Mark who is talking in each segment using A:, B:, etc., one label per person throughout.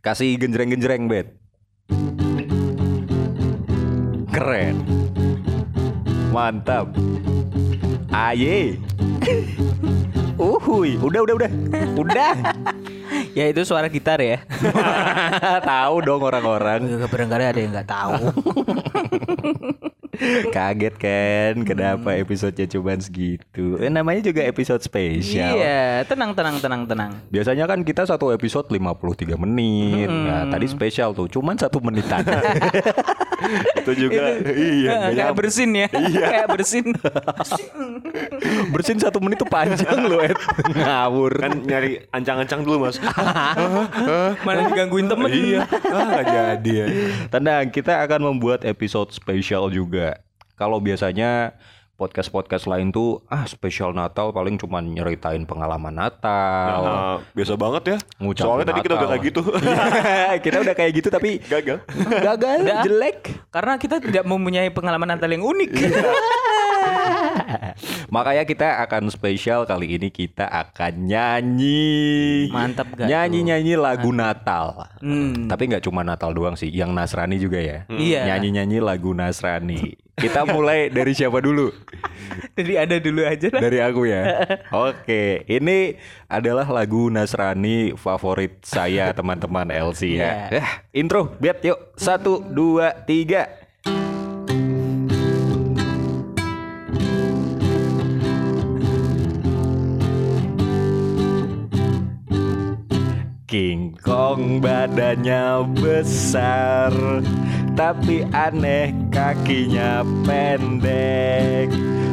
A: Kasih genjreng-genjreng, Bet. Keren. Mantap. Aye. Uhuy, udah udah udah. Udah.
B: ya itu suara gitar ya.
A: Tahu dong orang-orang.
B: Barangkali ada yang nggak tahu.
A: Kaget kan kenapa episodenya cuman segitu. Eh, namanya juga episode spesial.
B: iya, tenang tenang tenang tenang.
A: Biasanya kan kita satu episode 53 menit. Nah, tadi spesial tuh, cuman satu menitan. itu juga iya, nggak
B: eh, kayak
A: nyampe.
B: bersin ya. kayak bersin.
A: bersin satu menit tuh panjang loh, Ed. Ngawur.
C: kan nyari ancang-ancang dulu mas
B: Mana digangguin temen.
C: iya ah nggak jadi ya
A: Tenang, kita akan membuat episode spesial juga. Kalau biasanya podcast-podcast lain tuh ah spesial Natal paling cuman nyeritain pengalaman Natal.
C: Ah, biasa banget ya
A: Ngucapin
C: soalnya tadi kita udah
A: Natal.
C: kayak gitu
A: kita udah kayak gitu tapi
C: gagal
A: gagal,
B: Udah.
A: jelek.
B: Karena kita tidak mempunyai pengalaman Natal yang unik.
A: Makanya kita akan spesial kali ini kita akan nyanyi.
B: Mantap gak tuh? Ah.
A: Nyanyi-nyanyi lagu Natal.
B: Hmm.
A: Tapi nggak cuma Natal doang sih, yang Nasrani juga ya.
B: Iya.
A: Nyanyi-nyanyi lagu Nasrani. Kita mulai dari siapa dulu?
B: Jadi ada dulu aja lah.
A: Dari aku ya. Oke, ini adalah lagu Nasrani favorit saya teman-teman LC ya.
B: Iya.
A: Eh, intro, biat yuk. Satu, dua, tiga. King Kong badannya besar Tapi aneh kakinya pendek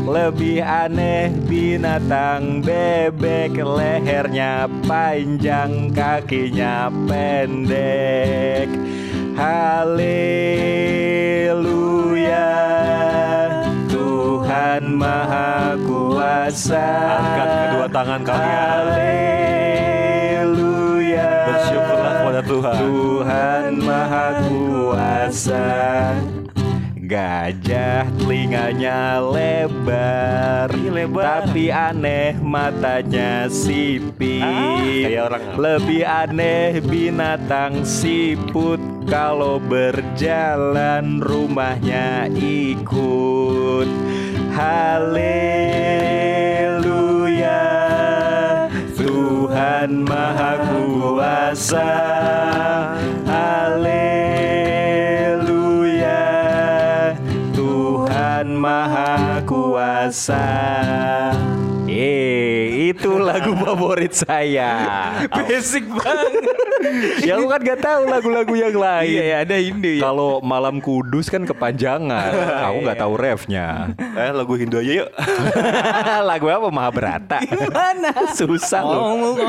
A: Lebih aneh binatang bebek Lehernya panjang kakinya pendek Haleluya Tuhan Maha Kuasa
C: Angkat kedua tangan kalian.
A: Haleluya
C: Bersyukurlah kepada Tuhan.
A: Tuhan Maha Kuasa Gajah telinganya lebar, Tapi aneh matanya sipit
C: Ah. kayak orang.
A: Lebih aneh binatang siput Kalau berjalan rumahnya ikut Haleluya Tuhan Maha Kuasa Haleluya Tuhan Maha Kuasa Eh, itu lagu favorit saya.
B: Basic banget.
A: ya aku kan gak tahu lagu-lagu yang
B: iya,
A: lain.
B: ya, ada Hindu ya. Iya,
A: Kalau Malam Kudus kan kepanjangan. aku nggak tahu refnya.
C: eh lagu Hindu aja yuk
A: lagu apa Mahabharata?
B: Mana?
A: Susah loh.
B: Ngomong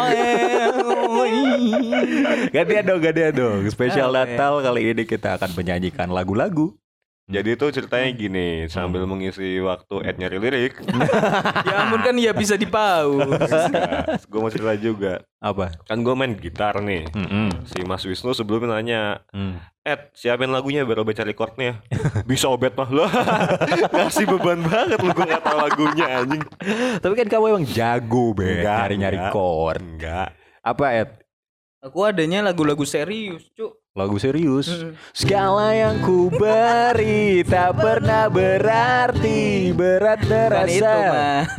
A: Gantian dong, gantian dong. Spesial
B: Oke.
A: Natal kali ini kita akan menyanyikan lagu-lagu.
C: jadi itu ceritanya gini sambil mengisi waktu Ed nyari lirik
B: Ya ampun kan ya bisa dipaus.
C: gue mau cerita juga
A: Apa?
C: kan gue main gitar nih
A: Hmm.
C: si Mas Wisnu sebelumnya nanya
B: Hmm.
C: Ed siapin lagunya biar obet cari chordnya bisa obet mah lo ngasih beban banget lu gue nggak tahu lagunya anjing
A: Tapi kan kamu emang jago, Be.
C: Enggak,
A: Nyari-nyari
C: enggak.
A: chord.
C: enggak
A: Apa, Ed?
B: Aku adanya lagu-lagu serius, Cuk.
A: Lagu serius. Segala yang ku beri tak pernah berarti berat
B: Bukan itu,
A: terasa.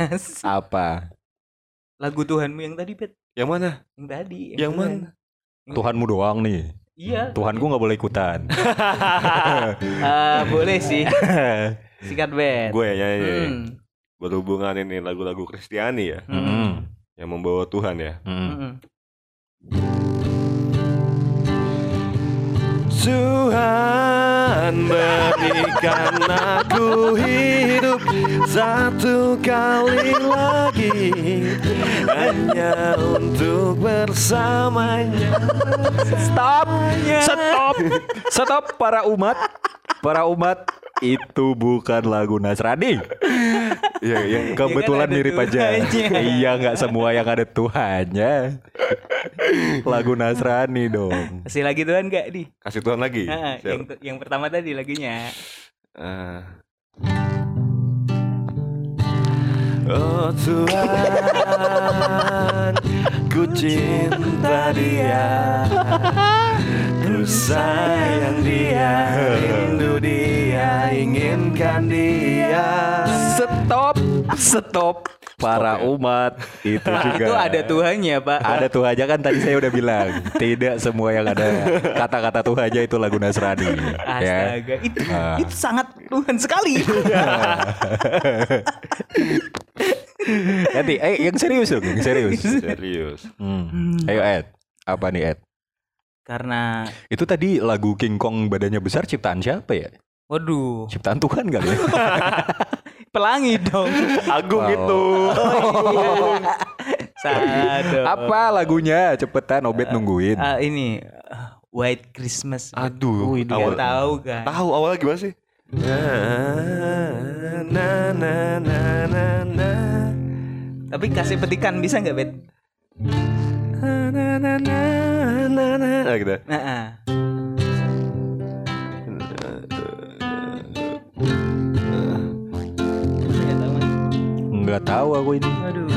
B: Mas.
A: Apa?
B: Lagu Tuhanmu yang tadi, Bet.
C: yang mana
B: Yang tadi.
C: Yang
B: kemarin.
C: mana?
A: Tuhanmu doang nih.
B: Iya.
A: Tuhanku nggak boleh ikutan.
B: Ah, boleh sih. Sikat, Bet.
C: gue ya nyanyi
B: Hmm.
C: berhubungan ini lagu-lagu Kristiani ya
B: Hmm.
C: yang membawa Tuhan ya
B: Hmm.
C: Tuhan berikan aku hidup satu kali lagi hanya untuk bersamanya.
A: Stop. Stop. Stop para umat. Para umat itu bukan lagu Nasrani. Ya,
C: Iya, yang
A: Kebetulan
B: ada
A: mirip aja.
B: Tuhannya.
A: iya, nggak semua yang ada Tuhannya. Lagu Nasrani dong.
B: Kasih lagi Tuhan gak, Di?
C: kasih Tuhan lagi.
B: Ah,
C: Iya, Siap.
B: yang, yang pertama tadi lagunya.
C: Ah. Oh Tuhan Ku cinta dia Ku sayang dia Rindu dia Inginkan dia
A: Stop, stop. Para
C: ya.
A: umat itu juga.
B: Itu ada Tuhannya, Pak.
C: Iya.
A: Ada Tuhan aja kan tadi saya udah bilang tidak semua yang ada kata-kata Tuhan aja itu lagu Nasrani. ya.
B: Astaga, itu
A: Ah.
B: itu sangat Tuhan sekali.
A: Nanti, eh yang serius dong, yang serius.
C: Serius
A: Hmm. Ayo Ed, apa nih Ed?
B: Karena
A: Itu tadi lagu King Kong badannya besar ciptaan siapa ya?
B: waduh,
A: Ciptaan Tuhan kali ya?
B: pelangi dong.
C: Agung
A: Wow.
C: itu
B: Satu.
C: Ah.
A: Apa lagunya? Cepetan Obet nungguin.
B: Ah, ini ah, White Christmas.
C: Aduh
A: Wih, dia
B: Nggak
C: awal, Ah.
B: tahu kan.
C: iya. Tahu awalnya gimana sih? Na na na na na na
B: Tapi kasih petikan bisa nggak, Bet?
C: na na na na na Nah, gitu.
B: Nah, ah. Nggak tahu, Mas.
A: Nggak tahu aku ini.
B: Aduh.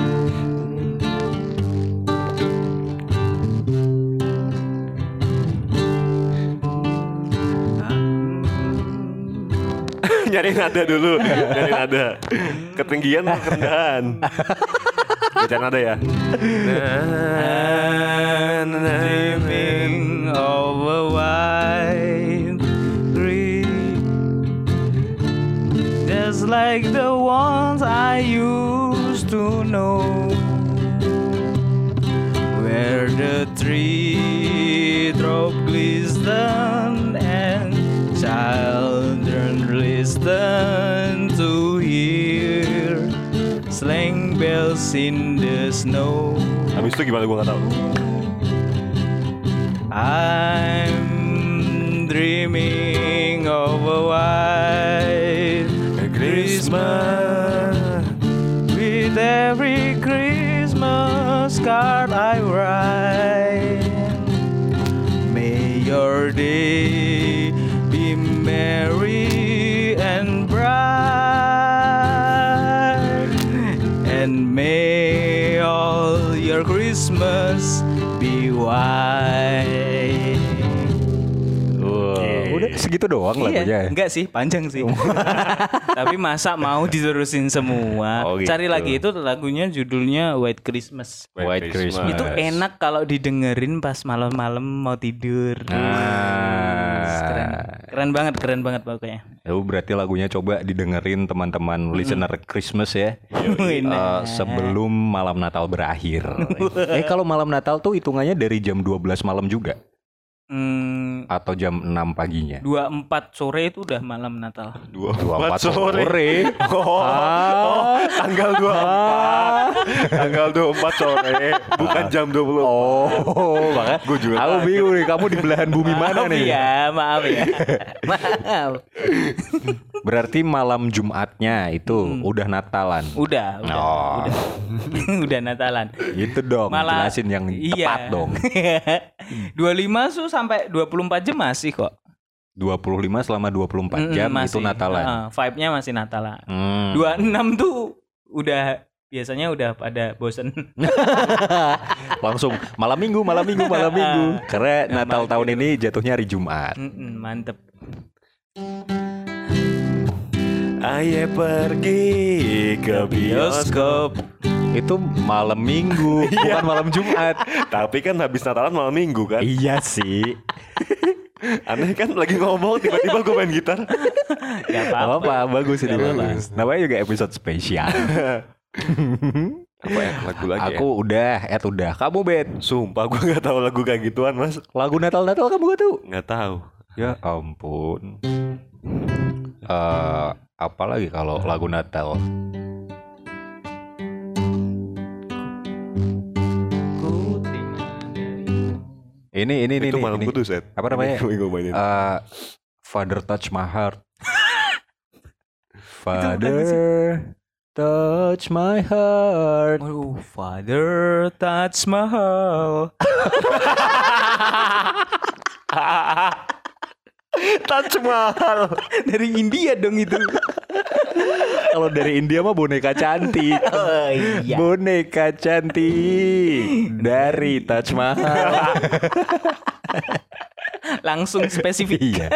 C: Nyari nada dulu Nyari nada Ketinggian atau kerendahan Baca nada ya Na, na, na, na.
B: Dreaming of a white dream Just like the ones I used to know Where the treedrop glisten And children listen to hear Slang bells in the snow
C: Habis itu gimana gue gak tau
B: I'm dreaming of a white Christmas with every Christmas card I write. May your day be merry and bright, and may all your Christmas be white.
A: Udah segitu doang
B: Ya Iya,
C: ya?
A: lagunya. ya?
B: enggak sih, panjang sih.
C: Oh.
B: Tapi masa mau diterusin semua?
C: Oh, gitu.
B: Cari lagi itu lagunya judulnya White Christmas.
A: White Christmas.
B: Itu enak kalau didengerin pas malam-malam mau tidur.
A: Nah.
B: Keren. Keren banget, keren banget pokoknya.
A: Ya, berarti lagunya coba didengerin teman-teman listener Christmas ya. Eh,
B: Nah.
A: sebelum malam Natal berakhir. eh kalau malam Natal tuh hitungannya dari jam 12 malam juga
B: Hmm,
A: atau jam 6 paginya.
B: 24 sore itu udah malam Natal.
C: Dua
A: 24 sore. Ah.
C: Oh, oh, tanggal 24 Tanggal 24 sore Bukan jam 20
A: Oh, makanya
C: Gua juga kan.
A: Aku
C: kaget.
A: bingung nih, kamu di belahan bumi mana
B: maaf
A: nih?
B: ya, maaf ya. maaf.
A: Berarti malam Jumatnya itu
B: Hmm.
A: udah Natalan.
B: Udah, udah.
A: Oh.
B: Udah. udah Natalan.
A: Itu Gitu dong,
B: Malah
A: jelasin yang
B: iya.
A: tepat dong.
B: 25 tuh sampai 24 jam masih kok.
A: 25 selama 24
B: Mm-mm,
A: jam itu
B: Hmm, masih.
A: Natalan.
B: Heeh, vibe-nya masih Natalan.
A: Hmm.
B: 26 tuh udah biasanya udah pada bosen.
A: Hmm, Langsung malam minggu, malam minggu, malam minggu. Karena
B: Ya,
A: Natal
B: malam
A: tahun ini jatuhnya hari Jumat.
B: Mm-mm, mantep.
C: Aye pergi ke bioskop
A: Itu malam minggu, bukan
B: Iya.
A: malam Jumat.
C: Tapi kan habis Natalan malam minggu kan
A: iya sih.
C: Aneh kan lagi ngomong tiba-tiba gue main gitar
B: Gak
A: Gak
B: apa-apa.
A: apa-apa, bagus ini
B: Gak apa-apa.
A: bagus. Namanya juga episode spesial.
C: Apa ya lagu lagi Aku
A: Aku udah, Ed udah. Kamu Bet,
C: Sumpah gue gak tahu lagu kayak gituan mas
A: lagu Natal-Natal kamu gak tahu?
C: Gak tahu
A: Ya ampun. Eh, apalagi kalau lagu Natal. Ini ini ini
C: Itu
A: ini,
C: malam
A: ini.
C: kudus Ed
A: Apa namanya?
C: Gue gue mainin
A: Eh, Father touch my heart. Father touch my heart.
B: Waduh, Oh, father touch my heart.
C: Touch mahal
B: Dari India dong itu.
A: Kalau dari India mah boneka cantik.
D: Oh, iya.
A: Boneka cantik dari Taj Mahal.
B: Langsung spesifik.
A: iya.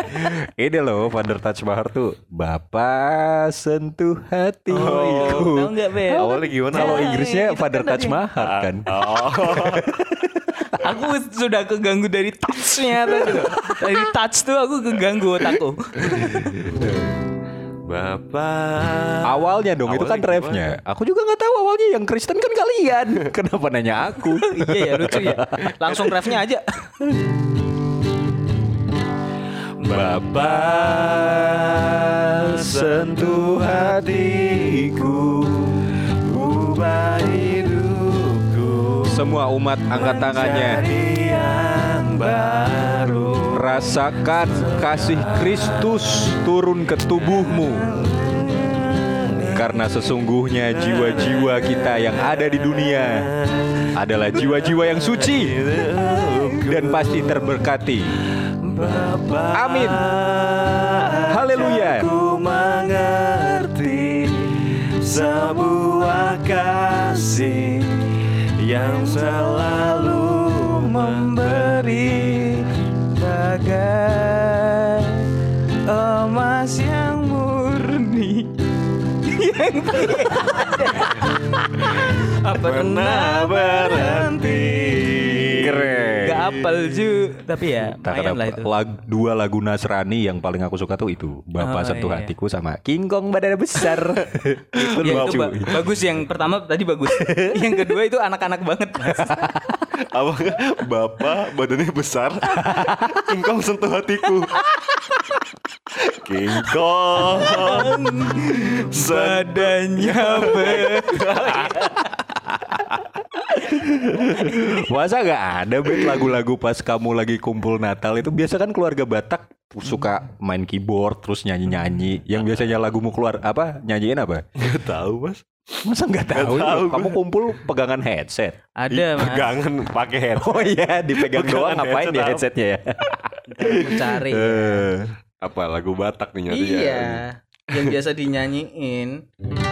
A: Ini loh Father Taj Mahal tuh Bapak sentuh hatiku.
B: iya. Oh, Tahu nggak Iya, Nah, Beb?
C: Awalnya gimana?
A: Kalau
C: Awalnya
A: Inggrisnya
D: kita
A: Father
D: kan
A: Taj
B: iya.
D: tadi-
A: Mahal kan.
B: Aku sudah keganggu dari touchnya tadi loh. Dari touch tuh aku keganggu otakku.
C: Bapak.
A: Awalnya dong itu
C: Awalnya
A: kan refnya. Aku juga nggak tahu awalnya yang Kristen kan kalian. Kenapa nanya aku?
B: Iya ya lucu ya. Langsung refnya aja.
C: Bapak sentuh hatiku Ubah hidupku
A: Semua umat angkat tangannya.
C: Jadi yang baru
A: Rasakan kasih Kristus turun ke tubuhmu Karena sesungguhnya jiwa-jiwa kita yang ada di dunia Adalah jiwa-jiwa yang suci Dan pasti terberkati Amin Haleluya
C: Ku mengerti Sebuah kasih Yang selalu memberi Bagai emas yang murni
B: Apa
C: Pernah berhenti
A: Keren
B: Gak apel ju tapi ya
A: Tak
B: lumayan
A: kenapa.
B: lah itu.
A: Lag- dua lagu Nasrani yang paling aku suka tuh itu Bapak
B: Oh,
A: Sentuh
B: iya.
A: Hatiku sama King Kong Badan Besar Itu
B: Ya, itu
A: lucu
B: ba- bagus yang pertama tadi bagus. yang kedua itu anak-anak banget. Mas.
C: Apa bapak badannya besar? Kingkong sentuh hatiku. Kingkong
B: Badannya ber.
A: Masa gak ada bet lagu-lagu pas kamu lagi kumpul Natal itu biasa kan keluarga Batak suka main keyboard terus nyanyi-nyanyi. Yang biasanya lagumu keluar apa? Nyanyiin apa?
C: Gak tahu mas.
A: Masa nggak
C: Nggak
A: tahu?
C: tahu
A: kamu kumpul pegangan headset.
B: Ada mas.
C: Pegangan pakai headset.
A: Oh iya, dipegang doang
C: Pegangan
A: ngapain
C: headset
A: ya
C: apa?
A: headsetnya ya?
B: Aku cari.
A: Eh,
C: Apa lagu Batak nih nyari
B: iya.
C: ya?
B: Yang biasa dinyanyiin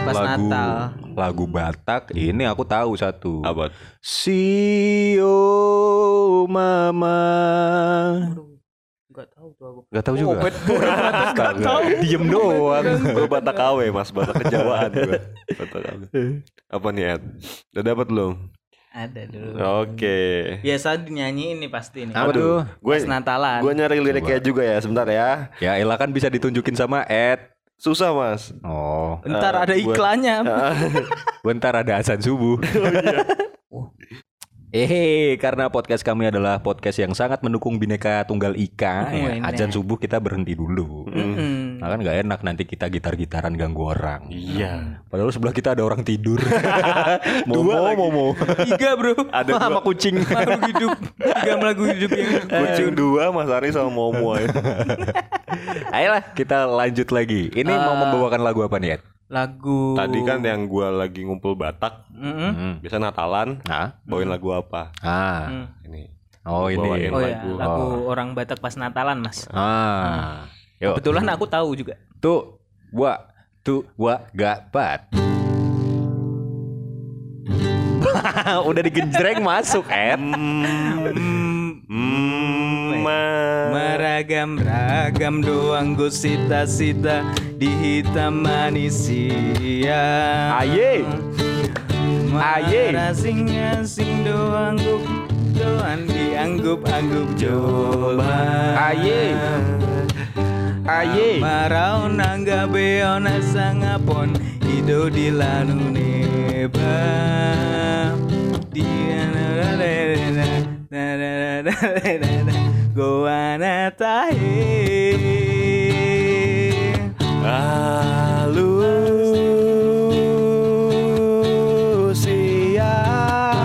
B: pas
A: lagu
B: Natal.
A: lagu Batak ini aku tahu satu.
C: Apa?
A: Sio mama.
B: Gak tahu tuh aku.
A: Gak tahu juga. Gak tahu. Diem doang.
C: Gue Batak KW mas, Batak kejawaan gue. Batak KW. Apa nih Ed? Udah dapat belum?
B: Ada dulu.
C: Oke.
B: Biasa dinyanyiin nih pasti nih.
A: Apa tuh?
C: Gue
B: Pas Natalan.
C: gue nyari liriknya juga ya sebentar ya.
A: Ya elah kan bisa ditunjukin sama Ed.
C: Susah mas.
A: Oh,
B: Ntar
C: Eh,
B: ada
C: buat-
B: iklannya.
A: bentar ada azan subuh. Oh. Eh, karena podcast kami adalah podcast yang sangat mendukung bineka tunggal ika. ya,
B: Wih,
A: azan subuh kita berhenti dulu.
B: Mm.
A: Nah, kan nggak enak nanti kita gitar-gitaran ganggu orang.
C: Iya.
A: Padahal sebelah kita ada orang tidur.
C: Dua
A: momo,
C: lagi.
A: momo.
B: Tiga bro.
C: Ada
B: Wah,
C: dua.
A: Sama kucing.
B: Makhluk hidup. Tiga lagu hidup yang
C: Kucing dua Mas Ari sama Momo ya.
A: Ayolah, kita lanjut lagi. Ini mau membawakan lagu apa nih, Ed?
B: lagu.
C: Tadi kan yang gua lagi ngumpul Batak,
B: Mm-mm.
C: biasa Natalan,
A: Nah.
C: bawain lagu apa?
A: Ah.
B: Mm.
C: Ini.
A: Oh, ini.
C: Bawain.
B: Oh ya,
C: Nah, Lagu.
B: lagu orang Batak pas Natalan mas.
A: Ah. Yuk.
B: Kebetulan aku tahu juga.
A: Tuh, gua, tuh, gua gak bat. Udah digenjreng masuk, Ed.
C: Eh, Merah.
B: Mm, Meragam ragam doang gue sita-sita di hitam manis siang.
A: Aye, aye.
B: Asing asing doang gue doang dianggup anggup coba.
A: Aye. aye.
B: Marau nangga beona sangapon Hido di lanu neba Dia na na na na na na na na na na Goa na tahe
C: Alusia.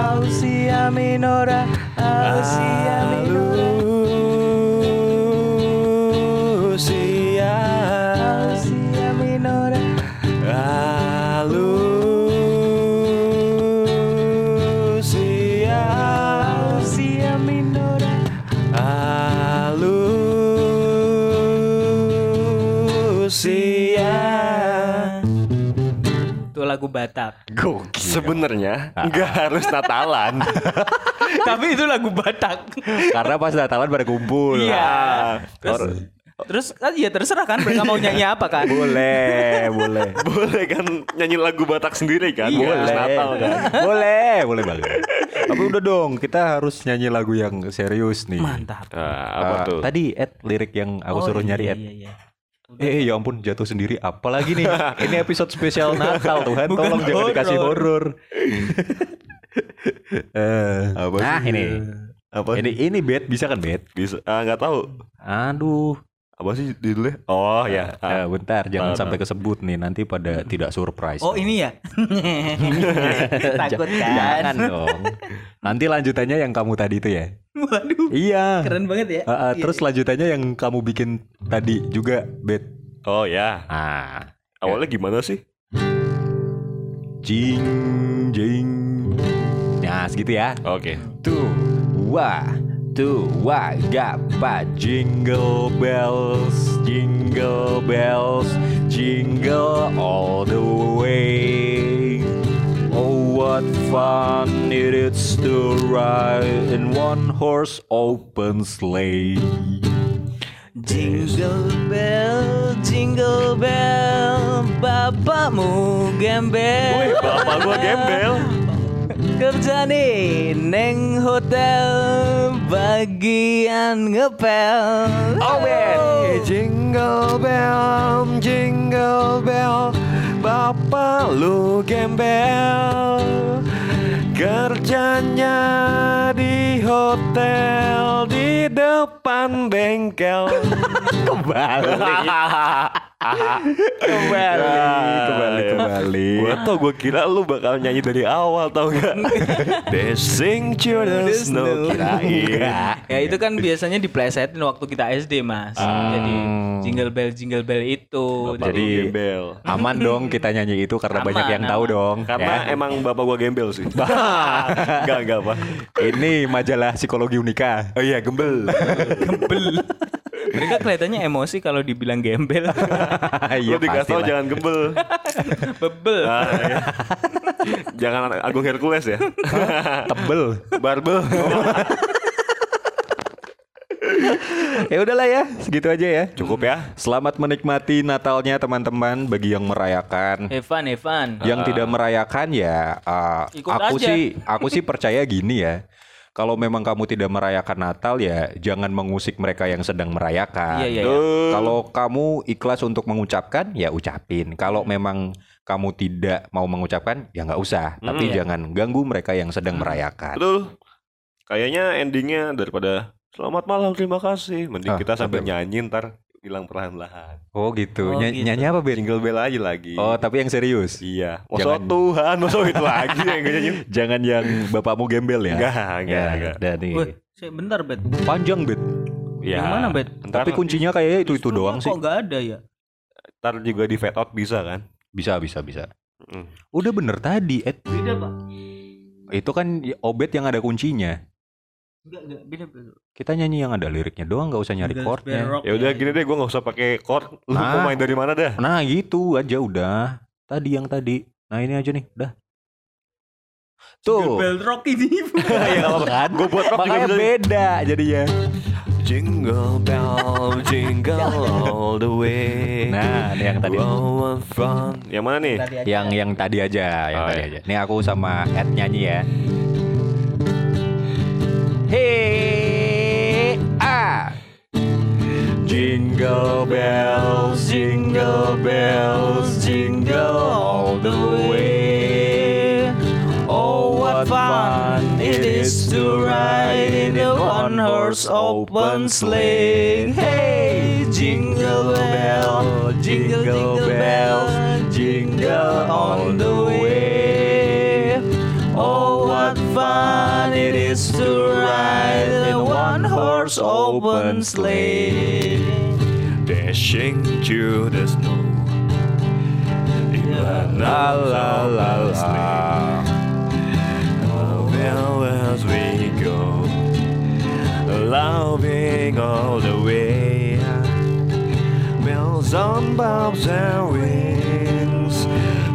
B: Ausia minora Ausia minora
C: Alusia.
B: Ausia minora
C: Alusia.
B: Ausia minora
C: Alusia.
B: Batak.
A: Gokil.
C: Sebenarnya nggak harus Natalan.
B: Tapi itu lagu Batak.
A: Karena pas Natalan pada kumpul.
B: Iya.
C: Ah,
B: Terus terus kan ya terserah kan mereka mau nyanyi apa kan.
A: Boleh, boleh.
C: boleh kan nyanyi lagu Batak sendiri kan? Bukan
A: boleh.
C: harus Natal kan?
A: Boleh, boleh banget. Tapi udah dong, kita harus nyanyi lagu yang serius nih.
B: Mantap.
C: Ah,
A: Ah,
C: apa tuh?
A: Tadi Ed lirik yang aku
B: Oh,
A: suruh
B: iya,
A: nyari
B: iya,
A: Ed.
B: iya, iya.
A: Eh, eh, ya ampun jatuh sendiri. Apalagi nih? Ini episode spesial Natal Tuhan.
B: Bukan
A: tolong jangan
B: horor.
A: dikasih horor. Eh,
C: Apa
A: nah
C: sih?
A: ini,
C: Apa?
A: ini ini bet bisa kan bet?
C: Bisa ah, nggak tahu.
A: Aduh,
C: Apa sih judulnya? Oh ya.
A: Eh,
C: Ah,
A: bentar jangan
C: Ah,
A: sampai kesebut nih nanti pada tidak surprise.
B: Oh ini ya. Takut
A: Jangan
B: kan.
A: dong. Nanti lanjutannya yang kamu tadi itu ya.
B: Waduh.
A: Iya.
B: Keren banget ya.
A: Ah, ah,
B: Iya,
A: terus
B: iya.
A: lanjutannya yang kamu bikin tadi juga bet.
C: Oh ya.
A: Ah,
C: Awalnya gimana sih?
A: jing jing. Nah, segitu ya.
C: Oke.
A: Tua, tua gapat Jingle bells, jingle bells Jingle all the way Oh what fun it is to ride In one horse open sleigh
B: Jingle bell, jingle bell, bapakmu
C: Woi,
B: gembel.
C: bapak gua gembel.
B: Kerja nih neng hotel bagian ngepel.
A: Oh, man.
C: Jingle bell, jingle bell, bapak lu gembel. Kerjanya di hotel di depan bengkel.
A: Kembali, kembali, kembali, kembali
C: Gue Ah. tau gue kira lu bakal nyanyi dari awal tau gak Dancing through the snow iya. Kirain
B: Ya itu kan biasanya diplesetin waktu kita SD mas.
A: Ah.
B: Jadi jingle bell jingle bell itu.
A: Jadi-
C: Jadi gembel
A: Aman dong kita nyanyi itu karena
B: Aman,
A: banyak yang tahu
B: aman.
A: dong
C: Karena
A: ya.
C: emang bapak gue gembel sih Enggak, enggak apa
A: Ini majalah psikologi unika
C: Oh iya gembel
B: gembel. Mereka kelihatannya emosi kalau dibilang gembel.
C: Lu dikasih tau
A: Iya, pastilah.
C: jangan gembel
B: Bebel.
C: Ah, iya. Jangan Agung Hercules ya
A: tebel.
C: Barbel
A: ya udahlah ya, segitu aja ya.
C: Cukup ya
A: Selamat menikmati Natalnya teman-teman bagi yang merayakan.
B: Evan Evan.
A: Yang tidak merayakan ya uh,
B: Ikut
A: aku
B: aja.
A: sih aku sih percaya gini ya. Kalau memang kamu tidak merayakan Natal ya jangan mengusik mereka yang sedang merayakan.
B: Iya, iya, iya.
C: Tuh.
A: Kalau kamu ikhlas untuk mengucapkan ya ucapin. Kalau memang kamu tidak mau mengucapkan ya nggak usah. Tapi
B: iya.
A: jangan ganggu mereka yang sedang merayakan.
C: Betul Kayaknya endingnya daripada Selamat malam terima kasih Mending
A: Ah,
C: kita sambil
A: sambil-
C: nyanyi ntar Hilang perlahan-lahan
A: Oh gitu.
B: Oh,
A: Nya-
B: gitu.
A: Nyanyi apa Ben?
C: Jingle bell aja lagi
A: Oh tapi yang serius.
C: Iya.
A: Jangan- Iya.
C: Masa Tuhan, masa itu lagi yang gue nyanyi.
A: Jangan yang bapakmu gembel ya.
C: Enggak, enggak, enggak.
A: Dari
B: Wih, saya bentar bet.
A: panjang bet.
C: Ya.
B: Yang mana, Bet?
C: Ntar,
A: Tapi kuncinya kayaknya itu itu
B: Justru
A: doang
B: kok
A: sih.
B: nggak ada ya?
C: ntar juga di fade out bisa kan?
A: Bisa bisa bisa. Hmm.
C: Mm.
A: Udah bener tadi. Ed.
B: Beda pak.
A: Itu kan y- obet yang ada kuncinya.
B: Enggak enggak beda beda.
A: Kita nyanyi yang ada liriknya doang, nggak usah nyari
B: Jingle
A: chordnya.
B: bell rock
C: Ya udah gini deh, gue nggak usah pakai chord. Lu mau
A: Ah.
C: main dari mana dah?
A: Nah gitu aja udah. Tadi yang tadi. Nah ini aja nih, udah.
B: Jingle
A: Tuh.
B: bell rock ini.
C: ya
A: Kan?
C: Gue buat rock juga
A: Makanya
C: bisa.
A: beda jadinya.
C: Jingle bell, jingle all the way.
A: Nah, ini yang tadi.
C: Wow, what fun. Yang mana nih?
B: Tadi aja.
A: Eh, Yang yang tadi aja, yang
C: Oh,
A: tadi
C: iya.
A: aja. Nih aku sama Ed nyanyi ya. Hey, ah.
C: Jingle bells, jingle bells, jingle all the way. Oh, what fun it is to ride in a one horse open sleigh. Hey, jingle bell, jingle bells, jingle all the way. Oh, what fun it is to ride in a one horse open sleigh. Dashing through the snow. La la la la. Oh, well, as we go, loving all the way. Bells on bobs and wings,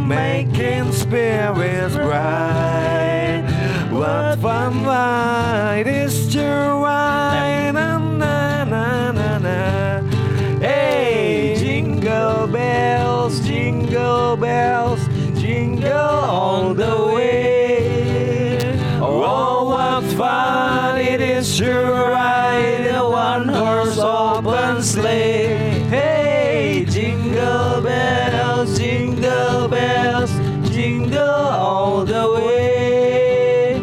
C: making
B: spirit's bright. What fun light is to ride? Na na na na na. Hey, jingle bells, jingle bells, jingle all the way. Oh, what fun it is to ride a one-horse open sleigh. Hey, jingle bells, jingle bells, jingle all the way.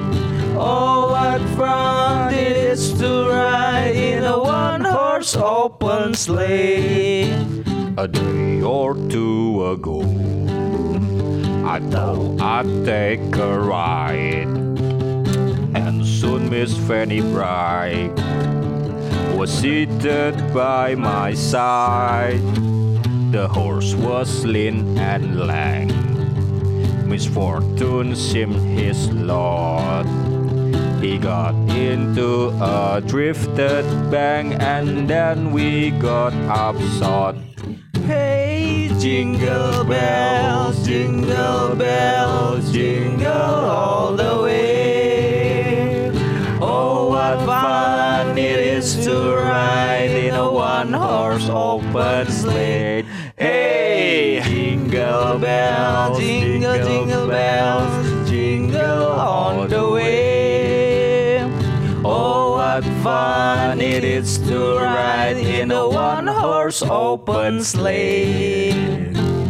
B: Oh, what fun it is to ride in a one-horse open sleigh.
C: A day or two ago, I thought I'd take a ride. And soon Miss Fanny Bright was seated by my side. The horse was lean and lank. Misfortune seemed his lot. He got into a drifted bank and then we got upsot. Hey, jingle bells, jingle bells, jingle all the way. Oh, what fun it is to ride in a one horse open sleigh. Hey, jingle bells, jingle, jingle bells, jingle all the way. Oh, what fun it is to ride in a one horse open sleigh.